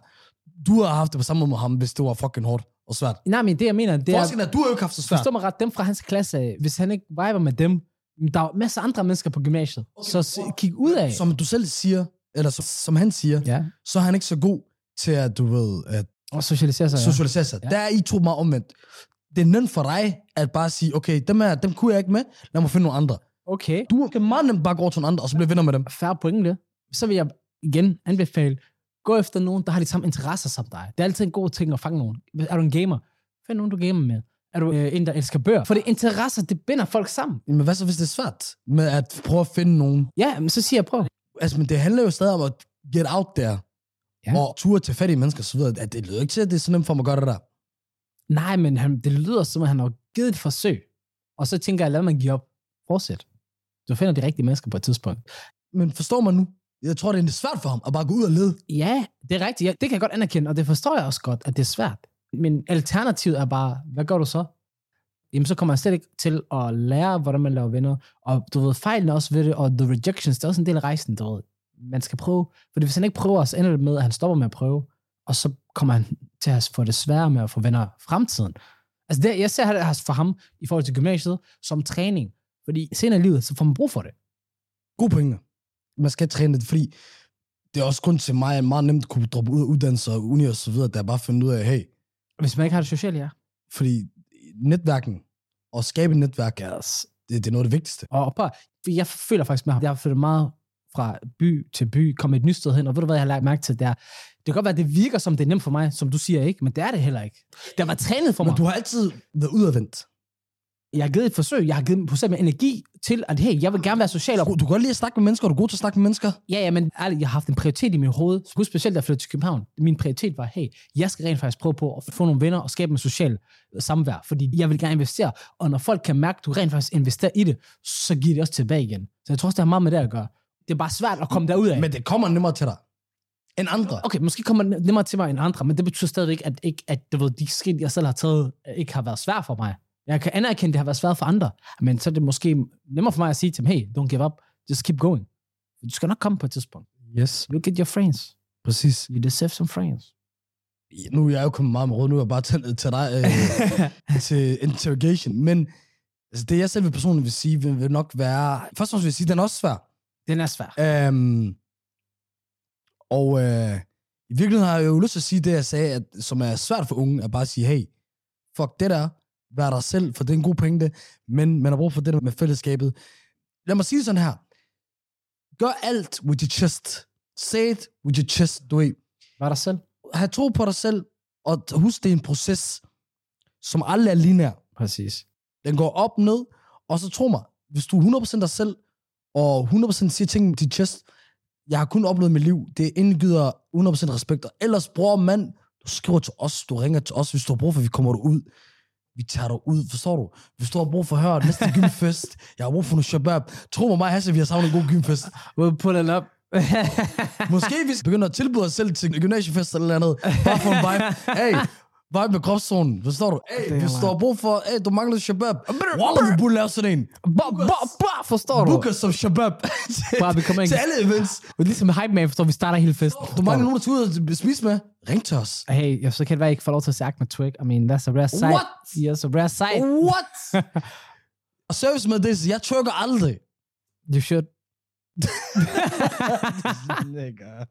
Speaker 2: du har haft det på samme måde med ham, hvis det var fucking hårdt og svært.
Speaker 1: Nej, men det jeg mener, det
Speaker 2: Det er...
Speaker 1: er...
Speaker 2: Forskellen er, at du har jo ikke haft så svært.
Speaker 1: Forstår mig ret, dem fra hans klasse, af, hvis han ikke viber med dem, jamen, der er jo masser af andre mennesker på gymnasiet. Okay, så s- kig ud af.
Speaker 2: Som du selv siger, eller som, som han siger, ja.
Speaker 1: Ja,
Speaker 2: så er han ikke så god til at, du ved, at
Speaker 1: og socialisere sig. ja.
Speaker 2: socialisere sig.
Speaker 1: Ja.
Speaker 2: Ja. Der er I to meget omvendt. Det er nemt for dig at bare sige, okay, dem, her, dem kunne jeg ikke med, lad mig finde nogle andre.
Speaker 1: Okay,
Speaker 2: Du kan meget nemt bare gå over til nogle andre, og så blive venner med dem.
Speaker 1: færre pointe. Så vil jeg igen anbefale, gå efter nogen, der har de samme interesser som dig. Det er altid en god ting at fange nogen. Er du en gamer? Find nogen, du gamer med. Er du øh, en, der elsker bøger? For det interesser, det binder folk sammen.
Speaker 2: Men hvad så, hvis det er svært med at prøve at finde nogen?
Speaker 1: Ja, men så siger jeg, prøv.
Speaker 2: Altså, men det handler jo stadig om at get out there.
Speaker 1: Ja.
Speaker 2: Ja. Og ture til fattige mennesker osv. At det lyder ikke til, at det er så nemt for mig at gøre det der.
Speaker 1: Nej, men han, det lyder som, at han har givet et forsøg. Og så tænker jeg, lad mig give op. Fortsæt. Du finder de rigtige mennesker på et tidspunkt.
Speaker 2: Men forstår man nu? Jeg tror, det er svært for ham at bare gå ud og lede.
Speaker 1: Ja, det er rigtigt. Ja, det kan jeg godt anerkende, og det forstår jeg også godt, at det er svært. Men alternativet er bare, hvad gør du så? Jamen, så kommer jeg slet ikke til at lære, hvordan man laver venner. Og du ved, fejlene også ved det, og the rejections, det er også en del af rejsen, du ved. Man skal prøve. For hvis han ikke prøver, så ender det med, at han stopper med at prøve. Og så kommer han til at få det sværere med at få venner i fremtiden. Altså, det, jeg ser det for ham i forhold til gymnasiet som træning. Fordi senere i livet, så får man brug for det.
Speaker 2: God pointe. Man skal træne det, fordi det er også grund til mig, at meget nemt kunne droppe ud af uddannelser og uni og så videre, der bare finde ud af, hey,
Speaker 1: Hvis man ikke har det socialt, ja.
Speaker 2: fordi netværken og skabe et netværk, er, det, det er noget af det vigtigste.
Speaker 1: Og bare, for jeg føler faktisk med ham, jeg har flyttet meget fra by til by, kom et nyt sted hen, og ved du hvad, jeg har lagt mærke til, det er, det kan godt være, det virker som, det er nemt for mig, som du siger ikke, men det er det heller ikke. Det var trænet for
Speaker 2: Men
Speaker 1: mig.
Speaker 2: du har altid været udadvendt.
Speaker 1: Jeg har givet et forsøg. Jeg har givet dem procent med energi til, at hey, jeg vil gerne være social. Og...
Speaker 2: Du kan godt lide at snakke med mennesker, og du er god til at snakke med mennesker.
Speaker 1: Ja, ja, men ærligt, jeg har haft en prioritet i min hoved. Husk specielt, da jeg flyttede til København. Min prioritet var, hey, jeg skal rent faktisk prøve på at få nogle venner og skabe en social øh, samvær, fordi jeg vil gerne investere. Og når folk kan mærke, at du rent faktisk investerer i det, så giver det også tilbage igen. Så jeg tror også, det har meget med det at gøre. Det er bare svært at komme derud af.
Speaker 2: Men det kommer nemmere til dig end andre.
Speaker 1: Okay, måske kommer det nemmere til mig end andre, men det betyder stadigvæk, at, ikke, at du ved, de skridt, jeg selv har taget, ikke har været svært for mig. Jeg kan anerkende, at det har været svært for andre, men så er det måske nemmere for mig at sige til dem, hey, don't give up, just keep going. Du skal nok komme på et tidspunkt.
Speaker 2: Yes,
Speaker 1: You get your friends.
Speaker 2: præcis.
Speaker 1: You deserve some friends.
Speaker 2: Nu er jeg jo kommet meget med råd, nu er jeg bare tændt til dig, øh, til interrogation. Men altså, det jeg selv vil personligt vil sige, vil, vil nok være... Først og fremmest vil jeg sige, den er også svær.
Speaker 1: Den er svær.
Speaker 2: Øhm, og øh, i virkeligheden har jeg jo lyst til at sige det, jeg sagde, at, som er svært for unge, at bare sige, hey, fuck det der, vær dig selv, for det er en god pointe, men man har brug for det der med fællesskabet. Lad mig sige det sådan her. Gør alt with your chest. Say it with your chest, du ved.
Speaker 1: Var der selv?
Speaker 2: Hav tro på dig selv, og husk, det er en proces, som aldrig er linær.
Speaker 1: Præcis.
Speaker 2: Den går op, ned, og så tro mig, hvis du er 100% dig selv, og 100% siger ting til chest, jeg har kun oplevet mit liv, det indgyder 100% respekt, og ellers, bror mand, du skriver til os, du ringer til os, hvis du har brug for, at vi kommer ud. Vi tager dig ud, forstår du? Hvis du har brug for at høre næste gymfest, jeg har brug for noget shabab. Tro mig, mig og Hassan, vi har savnet en god gymfest.
Speaker 1: We'll put it up.
Speaker 2: Måske vi begynder at tilbyde os selv til gymnasiefest eller noget andet. Bare for en vibe. Hey, vibe med kropszonen. Forstår du? Hey,
Speaker 1: er
Speaker 2: hvis du har
Speaker 1: meget.
Speaker 2: brug for, hey, du mangler shabab. Wallah, du burde lave sådan en.
Speaker 1: Bare, bare, bare, forstår du?
Speaker 2: Book os som shabab. Til-
Speaker 1: Bare vi kommer ind.
Speaker 2: Til alle events.
Speaker 1: Det er ligesom hype man, forstår du? vi starter hele festen.
Speaker 2: Du mangler nogen, der skal ud og spise med. Ring til os.
Speaker 1: Hey, jeg så kan det være, jeg ikke får lov til at se Ahmed Twig. I mean, that's a rare sight.
Speaker 2: What?
Speaker 1: Yes, a rare sight.
Speaker 2: What? <laughs> og service med det, jeg trykker aldrig.
Speaker 1: You should.
Speaker 2: Lækker.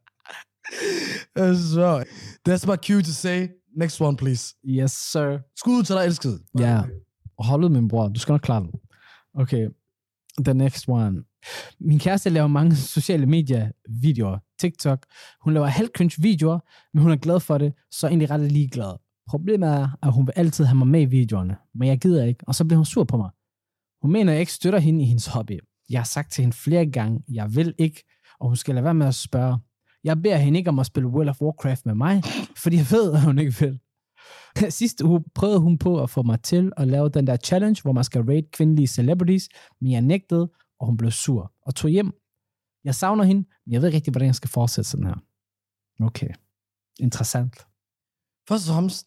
Speaker 2: Så, that's my cue to say. Next one, please.
Speaker 1: Yes, sir.
Speaker 2: Skud ud til dig, elskede.
Speaker 1: Ja. Hold ud, min bror. Du skal nok klare den. Okay. The next one. Min kæreste laver mange <laughs> sociale medier-videoer. TikTok. Hun laver halv cringe videoer, men hun er glad for det, så er egentlig ret ligeglad. Problemet er, at hun vil altid have mig med i videoerne, men jeg gider ikke, og så bliver hun sur på mig. Hun mener, at jeg ikke støtter hende i hendes hobby. Jeg har sagt til hende flere gange, jeg vil ikke, og hun skal lade være med at spørge. Jeg beder hende ikke om at spille World of Warcraft med mig, fordi jeg ved, at hun ikke vil. <laughs> Sidste uge prøvede hun på at få mig til at lave den der challenge, hvor man skal rate kvindelige celebrities, men jeg nægtede, og hun blev sur og tog hjem. Jeg savner hende, men jeg ved ikke rigtig, hvordan jeg skal fortsætte sådan her. Okay. Interessant.
Speaker 2: Først og fremmest,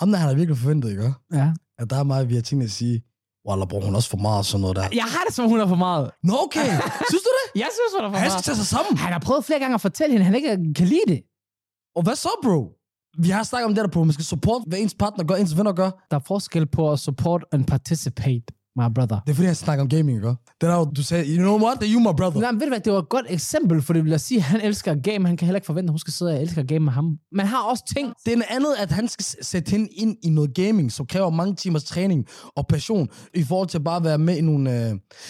Speaker 2: ham der, han har virkelig forventet, ikke?
Speaker 1: Ja.
Speaker 2: At der er meget, vi har tænkt at sige, Walla, bror, hun er også for meget og sådan noget der.
Speaker 1: Jeg har det, som hun er for meget.
Speaker 2: Nå, okay. Synes <laughs> du det?
Speaker 1: Jeg synes, hun er for
Speaker 2: Han skal
Speaker 1: meget.
Speaker 2: tage sig sammen.
Speaker 1: Han har prøvet flere gange at fortælle hende, at han ikke kan lide det.
Speaker 2: Og hvad så, bro? Vi har snakket om det der, bro. Man skal supporte, hvad ens partner gør, ens venner gør.
Speaker 1: Der er forskel på at support and participate, my brother.
Speaker 2: Det er fordi, han snakker om gaming, ikke? Det er der, du sagde, you know what? You my brother.
Speaker 1: Nej, men ved du hvad, det var et godt eksempel, for det vil jeg sige, at han elsker game, han kan heller ikke forvente, at hun skal sidde og elske game med ham. Man har også ting,
Speaker 2: Det er en andet, at han skal s- sætte hende ind i noget gaming, som kræver mange timers træning og passion, i forhold til bare at være med i nogle... Øh...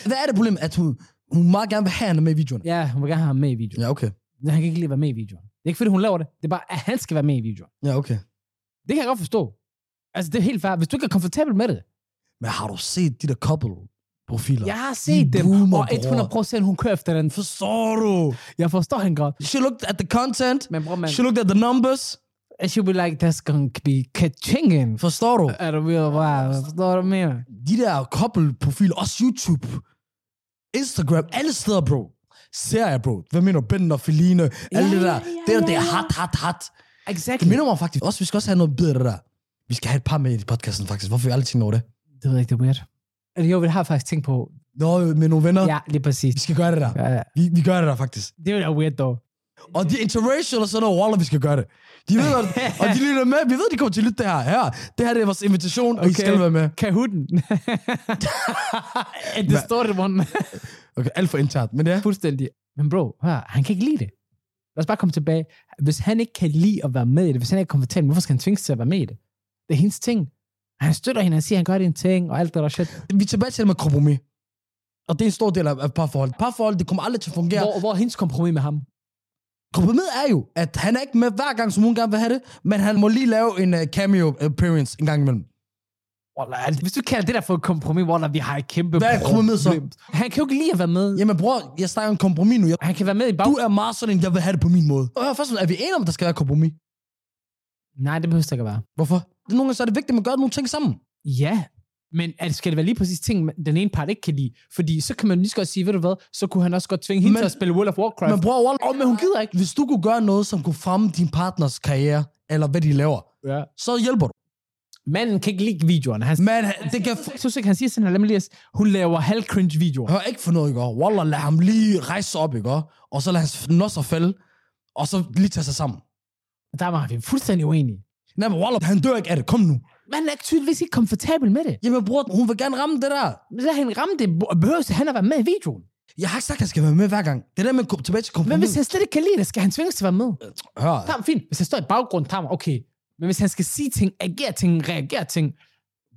Speaker 2: Hvad er det problem, at hun, hun meget gerne vil have, at han er med i videoen?
Speaker 1: ja, hun vil gerne have ham med i videoen.
Speaker 2: Ja, okay.
Speaker 1: Men han kan ikke lide at være med i videoen. Det er ikke fordi, hun laver det. Det er bare, at han skal være med i videoen.
Speaker 2: Ja, okay.
Speaker 1: Det kan jeg godt forstå. Altså, det er helt fair. Hvis du ikke er komfortabel med det.
Speaker 2: Men har du set de der couple-profiler?
Speaker 1: Jeg har set
Speaker 2: De
Speaker 1: dem,
Speaker 2: boomer,
Speaker 1: og 100 procent, hun kører efter den.
Speaker 2: Forstår du?
Speaker 1: Jeg forstår hende godt.
Speaker 2: She looked at the content.
Speaker 1: Men bror, man,
Speaker 2: She looked at the numbers.
Speaker 1: she'll be like, that's gonna be ka-chingin.
Speaker 2: Forstår du?
Speaker 1: Er du ved at bare, forstår du mere?
Speaker 2: De der couple-profiler, også YouTube, Instagram, alle steder, bro. Ser jeg, bro. Hvad mener du? Ben og Feline, alle
Speaker 1: Ja, ja,
Speaker 2: det der.
Speaker 1: ja,
Speaker 2: det der,
Speaker 1: ja,
Speaker 2: det er
Speaker 1: ja.
Speaker 2: hot, hot, hot. Det
Speaker 1: Exactly.
Speaker 2: minder mig faktisk også, vi skal også have noget bedre der. Vi skal have et par med i podcasten, faktisk. Hvorfor har vi aldrig tænkt over det?
Speaker 1: Det ved jeg ikke, det er weird. Eller jo, det har jeg faktisk tænkt på.
Speaker 2: Nå, med nogle venner.
Speaker 1: Ja, lige præcis.
Speaker 2: Vi skal gøre det der.
Speaker 1: Ja, ja.
Speaker 2: Vi, vi gør det der, faktisk.
Speaker 1: det er jo weird, dog.
Speaker 2: Og de er interracial og sådan noget, Waller, vi skal gøre det. De ved, at, og de lytter med. Vi ved, de kommer til at lytte det her. her. Det her det er vores invitation, okay. og I
Speaker 1: Okay.
Speaker 2: skal være med.
Speaker 1: <laughs> Kahooten. Et distorted one.
Speaker 2: Okay, alt for internt, men ja.
Speaker 1: Fuldstændig. Men bro, hør, han kan ikke lide det. Lad os bare komme tilbage. Hvis han ikke kan lide at være med i det, hvis han ikke er komfortabel, hvorfor skal han tvinges til at være med i det? Det er hendes ting. Han støtter hende, han siger, han gør det en ting, og alt det der shit.
Speaker 2: Vi er tilbage til det med kompromis. Og det er en stor del af af parforhold. Parforhold, det kommer aldrig til at fungere. Hvor?
Speaker 1: Hvor, hvor er hendes kompromis med ham?
Speaker 2: Kompromiset er jo, at han er øh, ikke med hver gang, som hun gerne vil have det, men han må lige lave en uh, cameo appearance en gang imellem.
Speaker 1: Wallah, altså, hvis du kalder det der for et kompromis, Wallah, vi har et kæmpe
Speaker 2: Hvad er et kompromis så?
Speaker 1: problem. Han kan jo ikke lide at være med.
Speaker 2: Jamen bror, jeg snakker om kompromis nu. Jeg,
Speaker 1: Han kan være med i bag...
Speaker 2: du er meget sådan en, jeg vil have det på min måde. Og hør først, er vi enige om, at der skal være kompromis?
Speaker 1: Nej, det behøver det ikke at være.
Speaker 2: Hvorfor? Nogle gange så er det vigtigt, at man gør nogle ting sammen.
Speaker 1: Ja, men at skal det være lige præcis ting, den ene part ikke kan lide? Fordi så kan man lige så godt sige, ved du hvad, så kunne han også godt tvinge hende
Speaker 2: Men-
Speaker 1: til at spille World of Warcraft.
Speaker 2: Men
Speaker 1: Men,
Speaker 2: bror, wallah,
Speaker 1: men hun gider ikke.
Speaker 2: hvis du kunne gøre noget, som kunne fremme din partners karriere, eller hvad de laver,
Speaker 1: Ja.
Speaker 2: så hjælper du.
Speaker 1: Manden kan ikke lide videoerne. Han,
Speaker 2: Men øh, det kan
Speaker 1: jeg synes ikke, han siger sådan her, lad mig lige, at- hun laver halv cringe videoer.
Speaker 2: Hør ikke for noget, ikke? Wallah, lad ham lige rejse sig op, ikke? Og så lad hans nosser falde, og så lige tage sig sammen.
Speaker 1: Der var vi fuldstændig uenige.
Speaker 2: Nej, men Wallah, han dør ikke af det. Kom nu.
Speaker 1: Man er tydeligvis ikke komfortabel med det.
Speaker 2: Jamen, bror, hun vil gerne ramme det der.
Speaker 1: Men Lad hende ramme det. Behøver han at være med i videoen?
Speaker 2: Jeg har ikke sagt, at jeg skal være med hver gang. Det der med at komme tilbage til
Speaker 1: Men
Speaker 2: kompromis.
Speaker 1: hvis han slet ikke kan lide det, skal han tvinges til at være med.
Speaker 2: Hør,
Speaker 1: Tam, fint. Hvis han står i baggrunden, tam, okay. Men hvis han skal sige ting, agere ting, reagere ting,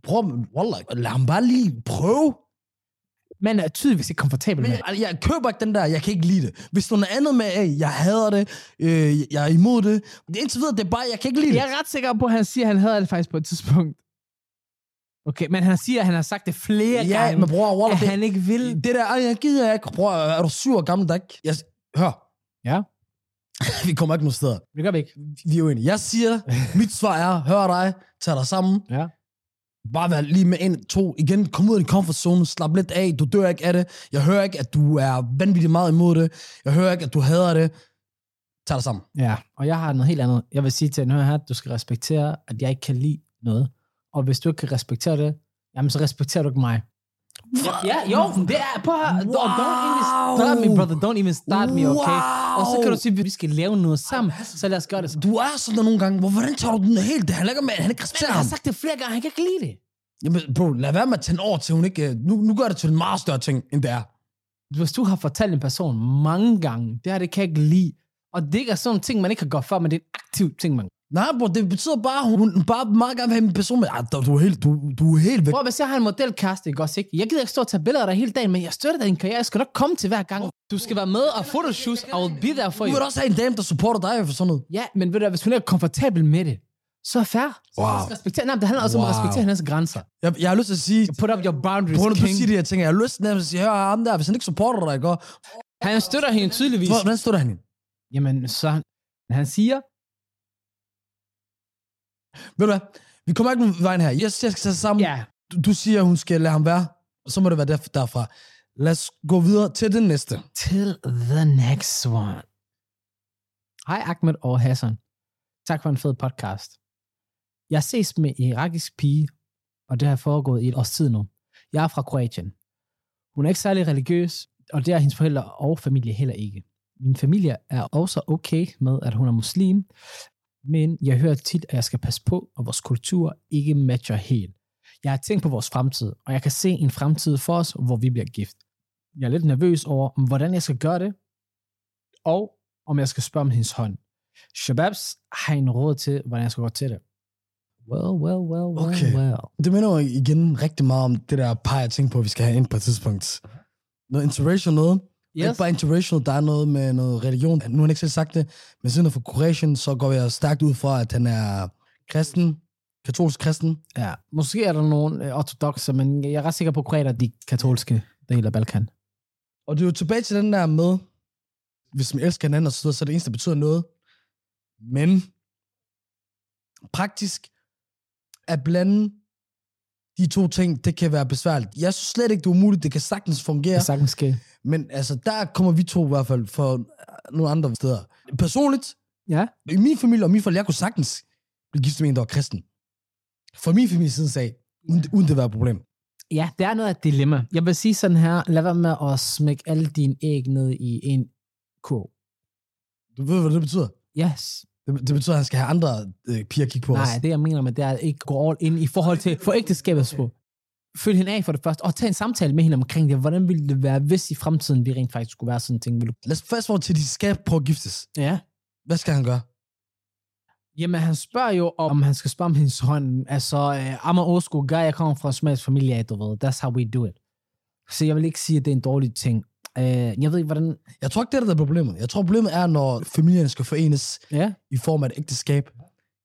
Speaker 2: bror, men Wallah, lad ham bare lige prøve.
Speaker 1: man er tydeligvis ikke komfortabel med
Speaker 2: Men jeg,
Speaker 1: det.
Speaker 2: altså, jeg køber ikke den der, jeg kan ikke lide det. Hvis der er noget andet med, at jeg hader det, øh, jeg er imod det. Det er indtil videre, det er bare, jeg kan ikke lide det.
Speaker 1: Jeg er ret sikker på, at han siger, at han havde det faktisk på et tidspunkt. Okay, men han siger, at han har sagt det flere
Speaker 2: Ja,
Speaker 1: gange,
Speaker 2: men bror, Wallah,
Speaker 1: at
Speaker 2: det,
Speaker 1: han ikke vil.
Speaker 2: det der, ej, jeg gider ikke. Bror, er du syv år gammel, der ikke? Jeg, hør.
Speaker 1: Ja.
Speaker 2: <laughs> vi kommer ikke nogen steder.
Speaker 1: Det gør vi ikke.
Speaker 2: Vi er uenige. Jeg
Speaker 1: <laughs>
Speaker 2: siger, mit svar er, hør dig, tag dig sammen.
Speaker 1: Ja.
Speaker 2: Bare vær lige med en, to. Igen, kom ud af din comfort zone, slap lidt af, du dør ikke af det. Jeg hører ikke, at du er vanvittigt meget imod det. Jeg hører ikke, at du hader det. Tag dig sammen.
Speaker 1: Ja, og jeg har noget helt andet. Jeg vil sige til den her, at du skal respektere, at jeg ikke kan lide noget. Og hvis du ikke kan respektere det, jamen så respekterer du ikke mig. Ja, jo, det er på her. Wow. Don't even start me, brother. Don't even start me, okay?
Speaker 2: Wow.
Speaker 1: Og så kan du sige, at vi skal lave noget sammen, så lad os gøre det sammen.
Speaker 2: Du er sådan der nogle gange. Hvor, hvordan tager du den helt? Det handler ikke om, at han ikke respekterer
Speaker 1: Jeg
Speaker 2: ham.
Speaker 1: har sagt det flere gange, han kan ikke lide det.
Speaker 2: Jamen, bro, lad være med at tænde over til, hun ikke... øh, Nu, nu gør det til en meget større ting, end det er.
Speaker 1: Hvis du har fortalt en person mange gange, det her, det kan jeg ikke lide. Og det ikke er sådan en ting, man ikke kan gå for, men det er en aktiv ting, man
Speaker 2: Nej, bro, det betyder bare, at hun, hun bare meget gerne vil have en person med. Ej, du, er helt, du, du er helt væk.
Speaker 1: Prøv, hvis jeg har en modelkæreste, ikke også, ikke? Jeg gider ikke stå og tage billeder af dig hele dagen, men jeg støtter din karriere. Jeg skal nok komme til hver gang. Du skal være med og photoshoots. I will be there for
Speaker 2: Du
Speaker 1: you.
Speaker 2: vil også have en dame, der supporter dig for sådan noget.
Speaker 1: Ja, men ved du, hvad, hvis hun ikke er komfortabel med det, så er fair. Så
Speaker 2: Wow.
Speaker 1: lad os respektere. Nej, men det handler også om at
Speaker 2: Wow.
Speaker 1: respektere hendes grænser.
Speaker 2: Jeg, jeg har lyst til at sige,
Speaker 1: Put up your boundaries,
Speaker 2: på grund af, at du
Speaker 1: king.
Speaker 2: siger de her ting, jeg har lyst til at sige, hør ham der, hvis han ikke supporter dig, ikke? også?
Speaker 1: Han støtter hende tydeligvis.
Speaker 2: Hvor- Hvordan stod der han hende?
Speaker 1: Jamen, så han, han siger,
Speaker 2: Ved du hvad? Vi kommer ikke nogen vejen her. Jeg siger, jeg skal tage sig sammen.
Speaker 1: ja,
Speaker 2: Du, du siger, hun skal lade ham være. Så må det være derf- derfra. Lad os gå videre til den næste.
Speaker 1: Til the next one. Hej Ahmed og Hassan. Tak for en fed podcast. Jeg ses med en irakisk pige, og det har foregået i et års tid nu. Jeg er fra Kroatien. Hun er ikke særlig religiøs, og det er hendes forældre og familie heller ikke. Min familie er også okay med, at hun er muslim, men jeg hører tit, at jeg skal passe på, og vores kultur ikke matcher helt. Jeg har tænkt på vores fremtid, og jeg kan se en fremtid for os, hvor vi bliver gift. Jeg er lidt nervøs over, hvordan jeg skal gøre det, og om jeg skal spørge om hendes hånd. Shababs har en råd til, hvordan jeg skal gå til det. Well, well, well, well,
Speaker 2: Okay.
Speaker 1: well.
Speaker 2: Det minder jo igen rigtig meget om det der par, jeg tænkte på, at vi skal have ind på et tidspunkt. Noget interracial noget. Yes. Ikke bare interracial, der er noget med noget religion. Nu har han ikke selv sagt det, men siden han er fra Kroatien, så går jeg stærkt ud fra, at han er kristen, katolsk kristen.
Speaker 1: Ja, måske er der nogle øh, ortodoxer, men jeg er ret sikker på, at kroater de katolske del af Balkan.
Speaker 2: Og det er jo tilbage til den der med, hvis man elsker hinanden og så videre, så er det eneste, der betyder noget. Men praktisk at blande de to ting, det kan være besværligt. Jeg synes slet ikke, det er umuligt. Det kan sagtens fungere.
Speaker 1: Ja. Det sagtens ske.
Speaker 2: Men altså, der kommer vi to i hvert fald fra nogle andre steder. Personligt,
Speaker 1: Ja.
Speaker 2: i min familie og min forældre, jeg kunne sagtens blive gift med en, der var kristen. For min familie siden sag, uden, uden det var et problem.
Speaker 1: Ja, det er noget af et dilemma. Jeg vil sige sådan her, lad være med at smække alle dine æg ned i en kurv.
Speaker 2: Du ved, hvad det betyder?
Speaker 1: Yes.
Speaker 2: Det, det betyder, at han skal have andre øh, piger at kigge på
Speaker 1: Nej,
Speaker 2: os.
Speaker 1: det jeg mener med, det er at ikke gå all in i forhold til for ægteskabet på. Følg hende af for det første, og tag en samtale med hende omkring det. Hvordan ville det være, hvis i fremtiden vi rent faktisk skulle være sådan en ting? Vil du...
Speaker 2: Lad os fast forward til, at de skal prøve at giftes.
Speaker 1: Ja.
Speaker 2: Hvad skal han gøre?
Speaker 1: Jamen, han spørger jo, om han skal spørge om hendes hånd. Altså, uh, I'm an old school guy, jeg kommer fra en smal familie, du ved. That's how we do it. Så jeg vil ikke sige, at det er en dårlig ting. Uh, jeg ved ikke, hvordan...
Speaker 2: Jeg tror ikke, det er det, der er problemet. Jeg tror, problemet er, når familierne skal forenes
Speaker 1: Ja,
Speaker 2: i form af et ægteskab,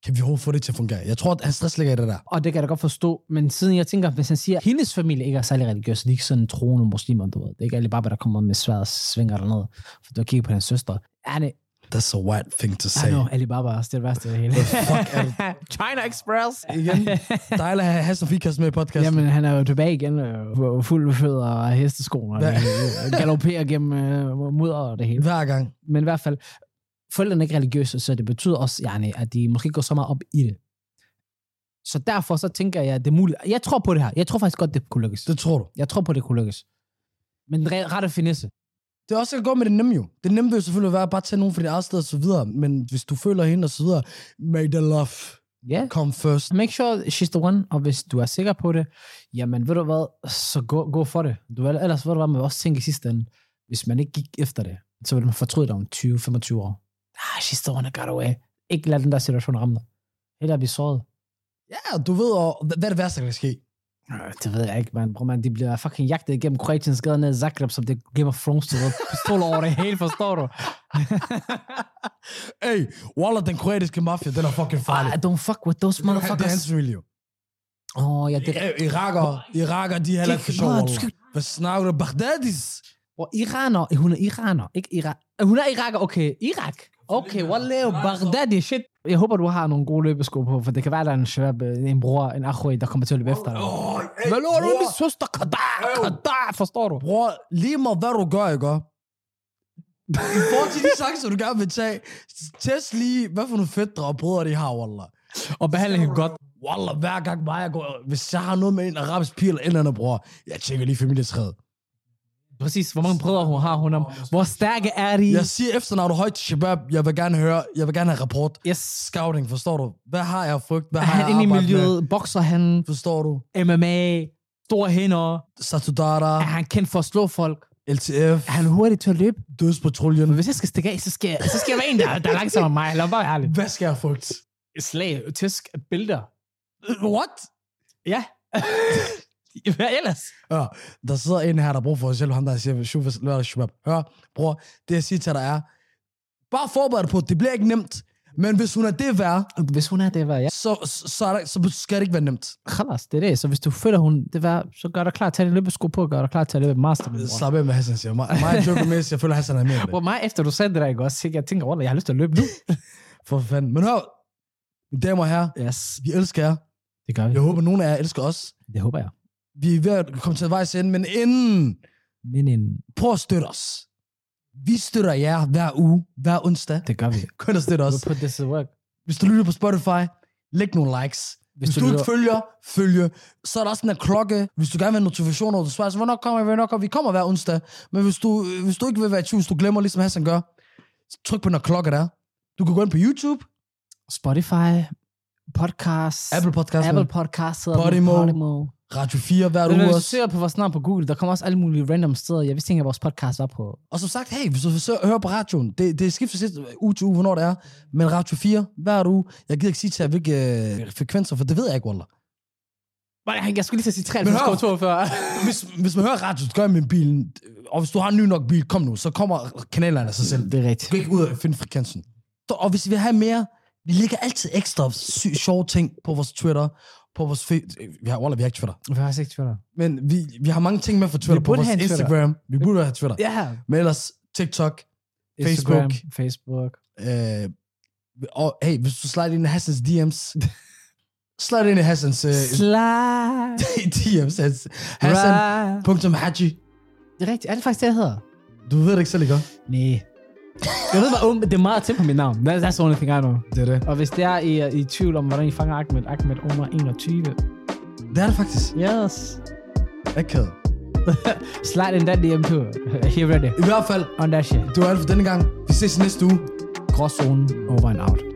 Speaker 2: kan vi overhovedet få det til at fungere? Jeg tror, at hans stress ligger i det der.
Speaker 1: Og det kan jeg da godt forstå, men siden jeg tænker, hvis han siger, at hendes familie ikke er særlig religiøs, de er ikke sådan troende muslimer, du ved. Det er ikke alle bare, der kommer med sværet og svinger eller noget, for du har kigget på hans søster. Er det,
Speaker 2: That's a white thing to
Speaker 1: I
Speaker 2: say.
Speaker 1: know, Alibaba er også det værste af det hele.
Speaker 2: Fuck, er det
Speaker 1: <laughs> China Express!
Speaker 2: igen? Dejligt at have Hassan Fikas med i podcasten. Jamen.
Speaker 1: Jamen, han er jo tilbage igen, øh, på fuld fødder og hestesko, og
Speaker 2: Hvad?
Speaker 1: øh, galopperer gennem øh, mudder og det hele.
Speaker 2: Hver gang.
Speaker 1: Men i hvert fald, forældrene er ikke religiøse, så det betyder også, yani, at de måske ikke går så meget op i det. Så derfor så tænker jeg, at det er muligt. Jeg tror på det her. Jeg tror faktisk godt, det kunne lykkes.
Speaker 2: Det tror du.
Speaker 1: Jeg tror på, det kunne lykkes. Men den re- rette finesse.
Speaker 2: Det er også at gå med det nemme jo. Det nemme vil jo selvfølgelig være at bare tage nogen fra dit eget sted og så videre. Men hvis du føler hende og så videre, make the love
Speaker 1: Ja. Yeah.
Speaker 2: come first.
Speaker 1: Make sure she's the one, og hvis du er sikker på det, jamen ved du hvad, så gå, gå for det. Du, ved- ellers ved du hvad, man vil også tænke i sidste ende, hvis man ikke gik efter det, så vil man fortryde dig om 20-25 år. Ah, she's the one that got away. Ikke lad den der situation ramme dig. Eller blive såret.
Speaker 2: Ja, du ved, og, hvad hvad er det værste, der kan ske?
Speaker 1: Øh, Det ved jeg ikke, man. Bro, man, de bliver fucking jagtet igennem Kroatiens gader ned i Zagreb, som det er Game of Thrones, du ved. pistoler over det hele, forstår du?
Speaker 2: Ey, Waller, den kroatiske mafia, den er fucking farlig.
Speaker 1: I Ah, don't fuck with those
Speaker 2: Det er
Speaker 1: motherfuckers.
Speaker 2: hans familie jo.
Speaker 1: Åh, oh, ja, det er...
Speaker 2: I- Irakere, Irakere, de er heller ikke for sjov.
Speaker 1: Nej, du
Speaker 2: Wallah.
Speaker 1: skal-
Speaker 2: Hvad snakker du? Baghdadis?
Speaker 1: Bro, iraner. Hun er iraner, ikke Irak. Hun er iraker, okay. Irak. Okay, wallah,
Speaker 2: altså-
Speaker 1: Baghdadi, shit. Jeg håber, du har nogle gode løbesko på, for det kan være, der er en shabab, en bror, en akhway, der kommer til at løbe efter dig.
Speaker 2: Åh, ey,
Speaker 1: Hvad lover du,
Speaker 2: bror.
Speaker 1: min søster? Kadar, kadar, forstår du?
Speaker 2: Bror, lige meget hvad du gør, ikke? I forhold til de chancer, du gerne vil tage, test lige, hvad for nogle fædre og brødre de har, Wallah.
Speaker 1: Og behandle hende godt.
Speaker 2: Wallah, hver gang mig, jeg går, hvis jeg har noget med en arabisk pige eller en eller anden, bror, jeg tjekker lige familietræet.
Speaker 1: Præcis, hvor mange brødre hun har, hun er. Hvor stærke er de?
Speaker 2: Jeg siger efternavnet højt til Shabab, jeg vil gerne høre, jeg vil gerne have rapport.
Speaker 1: yes.
Speaker 2: Scouting, forstår du? Hvad har jeg frygt? Hvad
Speaker 1: Er
Speaker 2: har
Speaker 1: han
Speaker 2: jeg
Speaker 1: inde i
Speaker 2: arbejdet
Speaker 1: miljøet? Bokser han?
Speaker 2: Med? Forstår du?
Speaker 1: MMA? Store hænder?
Speaker 2: Satudara,
Speaker 1: Er han kendt for at slå folk?
Speaker 2: LTF,
Speaker 1: Er han hurtig til at løbe?
Speaker 2: dødspatruljen.
Speaker 1: Men hvis jeg skal stikke af, så skal jeg, så skal jeg være en, der, der er langsommere end mig. Lad mig bare være ærlig.
Speaker 2: Hvad skal jeg frygte?
Speaker 1: Slag, tæsk, bælter.
Speaker 2: What? <laughs>
Speaker 1: Ja. Hvad ellers?
Speaker 2: Hør, der sidder en her, der har brug for sig selv, ham der siger, Shubas, lørdag, Shubab. Hør, bror, det jeg siger til dig er, bare forbered dig på, det bliver ikke nemt, men hvis hun er det værd,
Speaker 1: Hvis hun er det, hvad jeg...
Speaker 2: så, så, så, er der, så skal det ikke være nemt.
Speaker 1: Khalas, det er det. Så hvis du føler, hun det var, så gør dig klar til at løbe sko på, og gør dig klar til at løbe master. min bror.
Speaker 2: Slap af med Hassan, siger mig. Mig joker med, jeg føler, Hassan er med i
Speaker 1: Hvor
Speaker 2: det.
Speaker 1: mig efter du sagde det der, ikke også? ikke? Jeg tænker, "Wallah, jeg har lyst til at
Speaker 2: <laughs>
Speaker 1: løbe nu.
Speaker 2: For fanden. Men hør, mine damer og herrer,
Speaker 1: Yes,
Speaker 2: vi elsker jer.
Speaker 1: det gør vi.
Speaker 2: Jeg håber, nogen af jer elsker os.
Speaker 1: Det håber jeg.
Speaker 2: Vi er ved at komme til vejs ende, men inden,
Speaker 1: Men en,
Speaker 2: prøv at støtte os. Vi støtter jer hver uge, hver onsdag.
Speaker 1: det gør vi.
Speaker 2: Kun at støtte os.
Speaker 1: We'll put this to work.
Speaker 2: Hvis du lytter på Spotify, læg nogle likes. Hvis, Hvis du, du ikke
Speaker 1: lytter-
Speaker 2: følger, følge. Så er der også sådan en klokke. Hvis du gerne vil have notifikationer, og du spørger, så hvornår kommer vi, hvornår kommer vi? Vi kommer hver onsdag. Men hvis du, hvis du ikke vil være i tvivl, hvis du glemmer, ligesom Hassan gør, så tryk på den her klokke der. Du kan gå ind på YouTube,
Speaker 1: Spotify, podcast,
Speaker 2: Apple Podcast,
Speaker 1: Apple Podcast hedder
Speaker 2: Podimo.
Speaker 1: den, Podimo.
Speaker 2: Radio 4 hver
Speaker 1: Men
Speaker 2: uge
Speaker 1: hvis du
Speaker 2: også.
Speaker 1: søger på vores navn på Google, der kommer også alle mulige random steder. Jeg vidste ikke, at vores podcast var på.
Speaker 2: Og som sagt, hey, hvis du så hører på radioen, det, det skifter lidt uge til uge, hvornår det er. Men Radio 4 hver uge. Jeg gider ikke sige til jer, hvilke øh, frekvenser, for det ved jeg ikke, Wallah.
Speaker 1: Nej, Jeg skulle lige til at sige
Speaker 2: Men hør.
Speaker 1: 93,42.
Speaker 2: Hvis, hvis man hører radio, så gør jeg med bilen. Og hvis du har en ny nok bil, kom nu, så kommer kanalerne af sig <laughs> selv.
Speaker 1: Det er
Speaker 2: Du
Speaker 1: rigtigt.
Speaker 2: kan ikke ud og finde frekvensen. Så- Og hvis vi vil have mere, vi lægger altid ekstra sy- sjove ting på vores Twitter, på vores fe- øh, vi har, Wallah, vi har ikke Twitter.
Speaker 1: Jeg har ikke Twitter.
Speaker 2: Men vi, vi har mange ting med fra Twitter, på
Speaker 1: burde
Speaker 2: vores
Speaker 1: have en Twitter.
Speaker 2: Instagram. Vi burde have Twitter.
Speaker 1: Ja.
Speaker 2: Men ellers TikTok.
Speaker 1: Instagram,
Speaker 2: Facebook.
Speaker 1: Facebook.
Speaker 2: Øh, og hey, hvis du slider ind i Hassans DM's, slide ind i Hassans øh, <laughs>
Speaker 1: <laughs> Slide.
Speaker 2: DM's. Hans- Hassan.
Speaker 1: Right.
Speaker 2: Punktum Haji.
Speaker 1: Det er rigtigt. Er det faktisk det, jeg hedder?
Speaker 2: Du ved det ikke selv, ikke?
Speaker 1: Nej. Jeg ved, hvor ung, det er meget til på mit navn. That, that's the only thing I know.
Speaker 2: Det er det.
Speaker 1: Og hvis det er, I er i tvivl om, hvordan I fanger Ahmed, Ahmed under 21.
Speaker 2: Det er det faktisk.
Speaker 1: Yes. <laughs>
Speaker 2: Akavet.
Speaker 1: Slide in that DM <laughs> too. Here ready.
Speaker 2: I hvert fald,
Speaker 1: On that shit.
Speaker 2: det var alt for denne gang. Vi ses næste uge.
Speaker 1: Gråzonen over and out.